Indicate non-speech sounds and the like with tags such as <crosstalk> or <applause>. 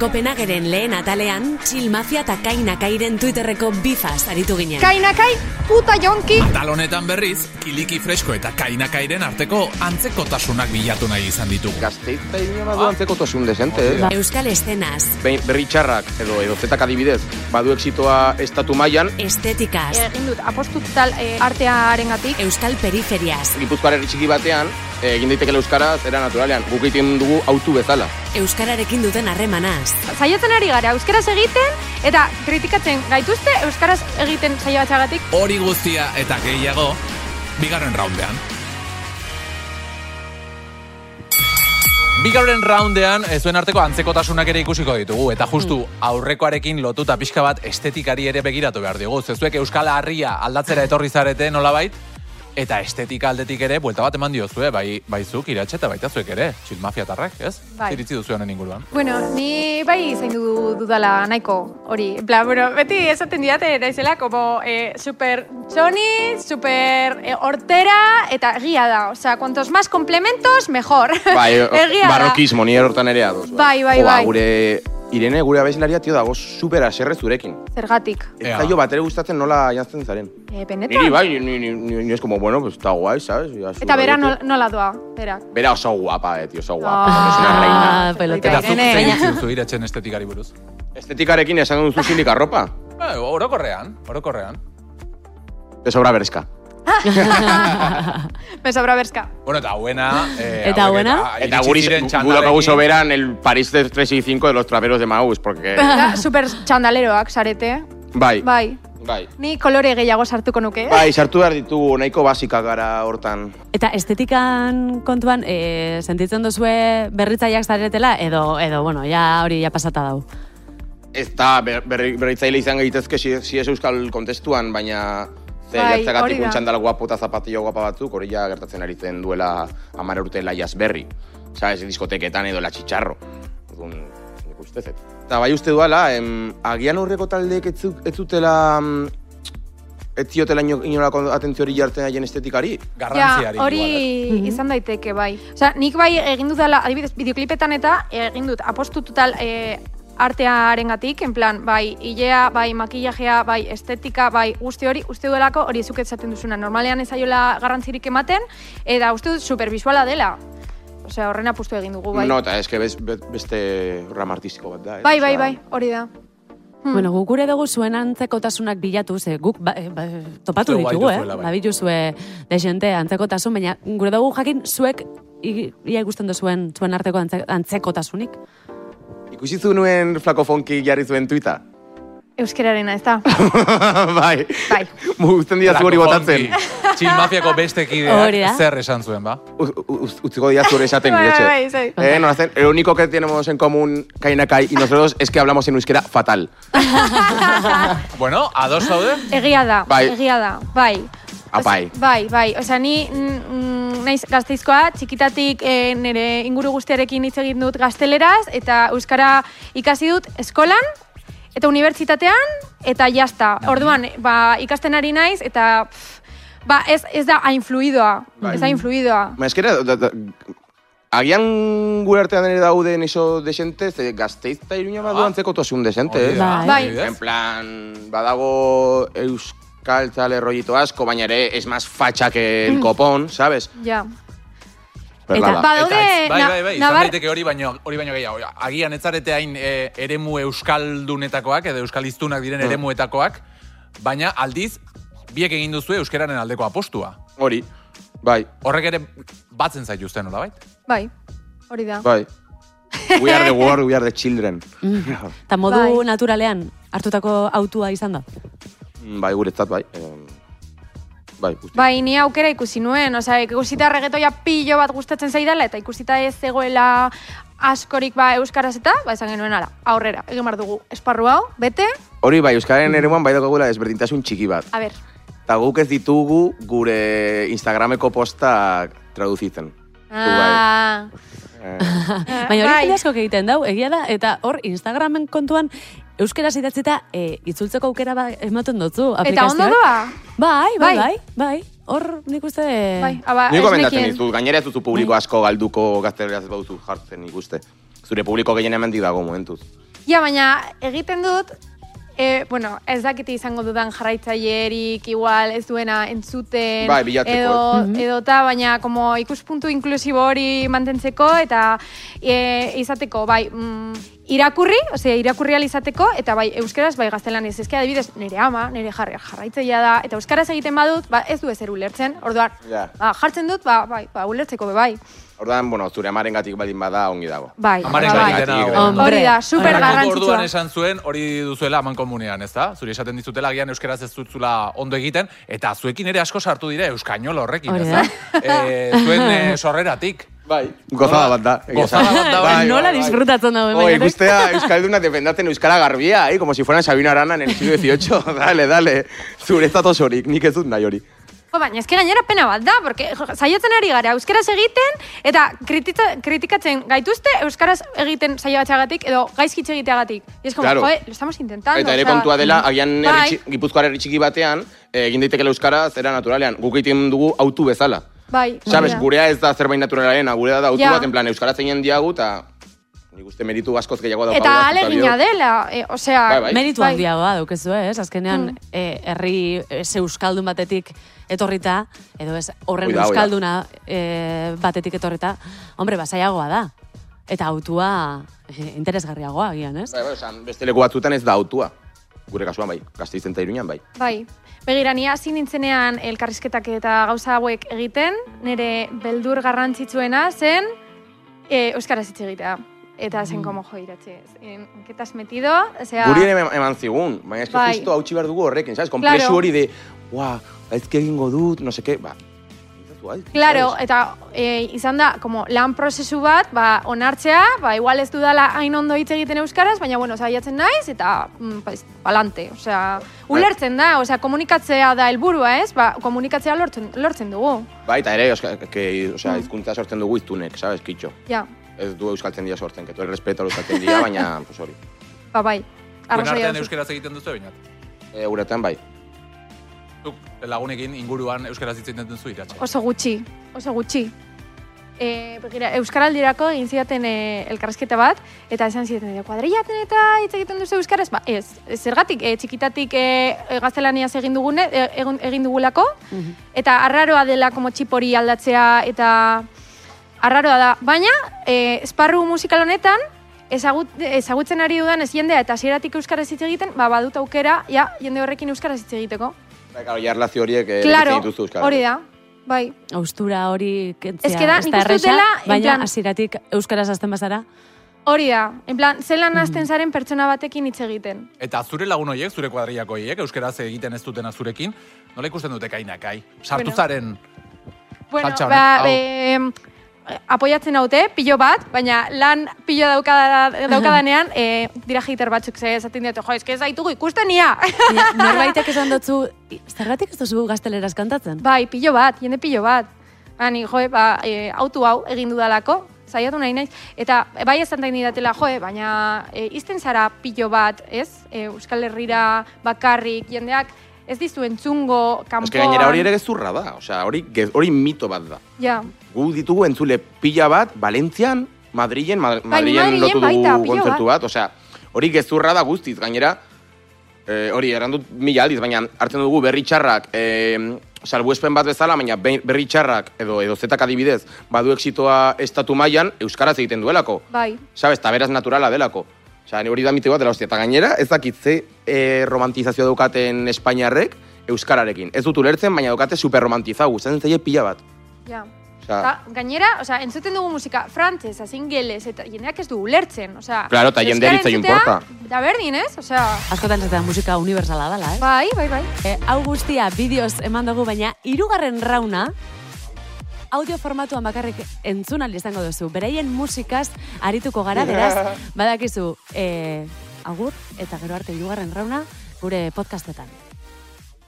Kopenageren lehen atalean, Chill Mafia eta Kainakairen Twitterreko bifaz aritu ginen. Kainakai, puta jonki! Atal honetan berriz, kiliki fresko eta kainakairen arteko antzekotasunak bilatu nahi izan ditu. Gazteizta inona du antzekotasun desente, eh? Ba- Euskal Estenaz, Behin berri txarrak, edo edo zetak adibidez, badu exitoa estatu mailan, Estetikaz, Egin dut, apostu total e, artearengatik. Euskal Periferiaz, Gipuzkoar herri txiki batean, e, egin daitekeela euskaraz, era naturalean, guk egiten dugu autu <laughs> bezala. Euskararekin duten harremanaz, Saiatzen ari gara, euskaraz egiten, eta kritikatzen gaituzte euskaraz egiten saiatxagatik. Hori guztia eta gehiago, bigarren raundean. Bigarren raundean, ez duen arteko antzekotasunak ere ikusiko ditugu, eta justu aurrekoarekin lotuta pixka bat estetikari ere begiratu behar diogu. Zezuek Euskal Harria aldatzera etorri zarete nolabait, eta estetika aldetik ere, buelta bat eman diozue, bai, bai zuk, iratxe eta baita zuek ere, txil mafiatarrak, ez? Bai. Ziritzi duzu honen inguruan. Bueno, ni bai zaindu dudala nahiko hori. En plan, bueno, beti esaten didate naizela, como eh, super txoni, super eh, hortera, eta egia da. Osea, cuantos más complementos, mejor. Bai, o- <laughs> egia barrokismo, ni hortan ere ados. Bai, bai, Jo, ba, bai. Gure Irene, gure abeslaria, tio, dago super aserre zurekin. da. Zergatik. Ez Ea. zaio bat ere gustatzen nola jantzen zaren. Eh, benetan. Niri bai, ni, ni, ni, ni, ni es como, bueno, pues está guay, ¿sabes? Ya, Eta super bera guay, nola, tío. nola doa, berak. Bera oso guapa, eh, tío, oso guapa. es una reina. Ah, pelota. Eta zuk, Irene. zein utzi duzu iratxen estetikari buruz? Estetikarekin esan duzu silik arropa. Ba, orokorrean, orokorrean. De sobra berezka. Me sobra berska. Bueno, eta hauena... Eh, Eta hauek hauena? Eta iritsi guri ziren gudok hau txandalekin. soberan el París de 3 y 5 de los traperos de Maús, porque... Da, <laughs> super txandaleroak sarete. Bai. Bai. Bai. Ni kolore gehiago sartuko nuke. Bai, sartu behar ditugu, nahiko basika gara hortan. Eta estetikan kontuan, e, sentitzen duzue berritzaileak zaretela, edo, edo, bueno, ja hori ja pasata dau. Ez da ber- berri- berritzaile izan gaitezke si, si ez euskal kontestuan, baina ze Bai, hori jartzagatik da. un txandal guapo eta zapatillo guapa batzuk, hori ja gertatzen ari zen duela amara urte laiaz berri. Osa, ez diskoteketan edo la txitxarro. Orduan, nik uste zet. Eta bai uste duala, em, agian aurreko taldeek ez zu- ez zutela... mm, Ez ziotela ino- inolako atentzio hori jartzen haien estetikari. Ja, Garrantziari. hori igual, Mm-hmm. izan daiteke, bai. Osea, nik bai egin dudala, adibidez, bideoklipetan eta egin dut apostu total e, artearengatik, en plan, bai, ilea, bai, makillajea, bai, estetika, bai, guzti hori, uste duelako hori zuk esaten duzuna. Normalean ez zaiola garrantzirik ematen, eta uste dut superbisuala dela. Osea, horren apustu egin dugu, bai. No, eta eske bez, be- beste ram artistiko bat da. ez? bai, bai, Osea, bai, hori da. Bueno, guk gure dugu zuen antzekotasunak bilatu, ze guk ba, eh, ba, topatu Zuek ditugu, eh? baituzuela, bai. Babiluzue desente antzekotasun, baina gure dugu jakin zuek i- ia ikusten duzuen zuen arteko antze, antzekotasunik. Ikusi zu nuen flako fonki jarri zuen tuita? Euskerarena, ez da. <laughs> bai. <laughs> Bai. Uzten dira Blako hori botatzen. Honki. Txil mafiako beste Hori da. kideak zer esan zuen, ba? U- u- uz- Utziko dira zure esaten, Bai, Guretxe. bai, bai. Eh, no hacen, lo único que tenemos en común Kainakai y nosotros es que hablamos en euskera fatal. Bueno, ados zaude? Egia da, Bai. Ah, egia da, bai. Apai. Osea, bai, bai, osea ni mm, mm, naiz gazteizkoa, txikitatik eh, nire inguru guztiarekin hitz egin dut gazteleraz, eta euskara ikasi dut eskolan, eta unibertsitatean, eta jazta. Bai. Orduan, ba, ikasten ari naiz, eta pff, ba, ez, ez da hain fluidoa, Bai. ez da hain fluidoa. Ma, eskera, da, da, agian gure artean ere daude niso desente, ze gazteizta iruña badu Ah. antzeko tosun desente, Hori ez? da, Bai. adibidez. eh. En plan, badago euskal txale rollito asko, baina ere es más facha que el copón, ¿sabes? Ja. Pues Eta- bada. Ba- Eta Daude, ez- bai, na- bai, bai, izan nabar- daiteke hori baino, hori baino gehiago. Agian ez zarete hain e, eremu euskaldunetakoak edo euskaliztunak diren Mm. eremuetakoak, baina aldiz biek egin duzu euskararen aldeko apostua. Hori, bai, Horrek ere batzen zaituzten, nolabait? Bai, hori da. bai. We are the world, we are the children. <laughs> Eta modu Bai. naturalean hartutako autua izan da. Bai, guretzat, bai. Em, Bai, guzti. Bai, ni aukera ikusi nuen, osea, ikusita reggaetoia pilo bat gustatzen zaidala, eta ikusita ez zegoela askorik ba euskaraz eta, ba, esan genuen ala, aurrera, egin behar dugu, esparru hau, bete, Hori bai, Euskararen eremuan bai daukagula desberdintasun txiki bat. a ber, Eta guk ez ditugu gure Instagrameko postak traduzitzen. bai. Ah, Eh, Ah, Baina hori bai. jende askok egiten dau, egia da, eta hor Instagramen kontuan euskera zidatzita e, itzultzeko aukera ba, ematen dutzu eta aplikazioak. ondo doa, Bai, bai, Bai. bai, bai. Hor nik uste... bai, aba, Nik gomendatzen esnekien. dizut, gainera ez duzu publiko asko galduko gazteleraz ez baduzu jartzen ikuste. Zure publiko gehien hemen dago momentuz. Ja, baina egiten dut, e, bueno, ez dakite izango dudan jarraitzailerik, igual ez duena entzuten, Bai, bilatzeko, edo, edo ta, baina como ikuspuntu inklusibo hori mantentzeko eta e, izateko, bai, mm, irakurri, osea, irakurri ahal izateko, eta bai, euskaraz, bai, gaztelan ez, ezke adibidez, nire ama, nire jarri, jarraitzailea da, eta euskaraz egiten badut, ba, ez du ezer ulertzen, orduan, Ja. ba, jartzen dut, ba, bai, ba, ulertzeko, be, bai. Ordan, bueno, zure amarengatik baldin bada ongi dago. Bai, Amaren ba, gaiten bai. hau. Hombre. Hori da, super Horrelako Horrelako garrantzitsua. orduan esan zuen, hori duzuela haman komunean, ez da? Zuri esaten dizutela, agian euskaraz ez dutzula ondo egiten, eta zuekin ere asko sartu dira euskainol horrekin, Hori ez da. da? E, zuen e, <laughs> sorreratik. Bai. Gozada bat da. egia esan. Gozada bat da, bai. Nola disfrutatzen dago, Oh, baina. ikustea Euskalduna defendatzen Euskara garbia, eh? como si fueran Sabino Arana en el siglo XVIII. dale, dale. Zure osorik, nik ez dut nahi hori. Jo, baina ezke gainera pena bat da, porque jo, saiatzen ari gara euskaraz egiten eta kritita, kritikatzen gaituzte euskaraz egiten saiatzeagatik edo gaizkitze egiteagatik. Y es como, Claro. joe, lo estamos intentando. Eta ere osea, kontua dela, agian bai, herri txi- gipuzkoar herri txiki batean, eh, egin daiteke euskara zera naturalean. Guk egiten dugu autu bezala. Bai, Sabes, hori da. gurea ez da zerbait naturalaren, gurea da autu Ja. bat, en plan, euskara zeinen diagu, eta nik uste meritu askoz gehiago daukagu. Eta ahaztuta alegina biok. dela, e, osea... Bai, bai. Meritu Bai. Hmm. handiagoa daukezu, ez? Azkenean, eh, herri eh, ze euskaldun batetik etorrita, edo ez, horren Oida, oida. euskalduna eh, batetik etorrita, hombre, basaiagoa da. Eta autua eh, interesgarriagoa, agian, ez? Bai, bai, osan, beste leku batzutan ez da autua. Gure kasuan bai, gazteizen eta iruñan bai. Bai. Begira, ni hasi nintzenean elkarrizketak eta gauza hauek egiten, nire beldur garrantzitsuena zen e, euskaraz hitz egitea. Eta zen como jo iratxe, en, en qué te has metido, osea... Guri ere eman zigun, baina ez Bai. justo hautsi behar dugu horrekin, sabes? Komplexu Claro. hori de, ua, aizke egingo dut, no seke, ba. pentsatu ahal, Claro, sabes? eta e, izan da, como lan prozesu bat, ba, onartzea, ba, igual ez dudala hain ondo hitz egiten euskaraz, baina, bueno, saiatzen naiz, eta, mm, pues, palante, osea, ulertzen da, osea, komunikatzea da helburua, ez, ba, komunikatzea lortzen, lortzen dugu, Bai, eta ere, oska, que, o Mm. sea, hizkuntza sortzen dugu iztunek, sabes, kitxo. ja, Ez du euskaltzen dira sortzen, que tu el respeto a euskaltzen <laughs> dira, baina, pues hori. ba, bai, Zuen arrazoia artean duzu. euskaraz egiten duzu, bainat. E, guretan bai. Zuk lagunekin inguruan euskaraz hitz egiten duzu iratxe. Oso gutxi, oso gutxi. E, begira, Euskaraldirako egin zidaten e, elkarrezketa bat, eta esan zidaten, "E, kuadrillaten eta hitz egiten duzu Euskaraz? Ba, ez, ez, zergatik, e, txikitatik e, e, gaztelaniaz egin, dugune, e, egun- egin dugulako, eta arraroa dela como txipori aldatzea, eta arraroa da. Baina, e, esparru musikal honetan, ezagut, ezagutzen ari dudan ez jendea, eta hasieratik Euskaraz hitz egiten, ba, badut aukera, ja, jende horrekin Euskaraz hitz egiteko. Bai, claro, jarlazi horiek eh, Claro, egiten dituztu euskaraz. hori da, bai. Austura hori kentzea, Ez que da, ez nik da uste dut erresa, dela, en baina plan- hasieratik euskaraz hasten bazara, Hori da, en plan, Mm. zelan hasten zaren pertsona batekin hitz egiten. Eta zure lagun hoiek, zure kuadriako hoiek, euskaraz egiten ez dutena zurekin, nola ikusten dute kainakai? Sartu Bueno. zaren, Bueno, Saltsa honek, ba, hau. em, apoiatzen haute, pilo bat, baina lan pilo daukada, <laughs> daukadanean, e, dira hater batzuk ze esaten diote, jo, eske ez daitugu ikusten ia. <laughs> Baina norbaitek esan dotzu, "I, zergatik ez duzu gazteleraz kantatzen? bai, pilo bat, jende pilo bat. Ani, jo, ba, e, autu hau egin dudalako, saiatu nahi naiz. Eta e, bai esan datela, jo, baina e, izten zara pilo bat, ez? E, Euskal Herrira bakarrik, jendeak ez dizu entzungo, kanpoan. Ez que gainera hori ere gezurra da, o sea, hori, gez- hori mito bat da. Ja. Gu ditugu entzule pila bat, Valentzian, Madrilen, Ma- Madrilen Bai, Madrilen lotu baita, dugu pilo kontzertu bat. Osea, hori gezurra da guztiz, gainera, eh, hori erran dut mila aldiz, baina hartzen dugu berri txarrak, eh, salbuespen bat bezala, baina be- berri txarrak, edo, edo zetak adibidez, badu exitoa estatu mailan euskaraz egiten duelako. Bai. Sabes, eta beraz naturala delako. Osea, ni hori da mite bat dela, hostia. Eta gainera, ez dakit ze eh, romantizazioa daukaten Espainiarrek euskararekin. Ez dut ulertzen, baina daukate superromantizau, zen zaie pila bat. Ja. Osea, Ta, gainera, osea, entzuten dugu musika frantzesaz, ingeles, eta jendeak ez du ulertzen, osea... Claro, eta jendeari euskara zaio entzutea, inporta. Da berdin, ez? Osea, Askotan zaten musika universala dela, eh? bai, bai, bai. E, hau guztia bideoz eman dugu, baina hirugarren rauna audio formatuan bakarrik entzun ahal izango duzu. Beraien musikaz arituko gara, beraz, <laughs> eh, badakizu, e, agur eta gero arte hirugarren rauna gure podcastetan.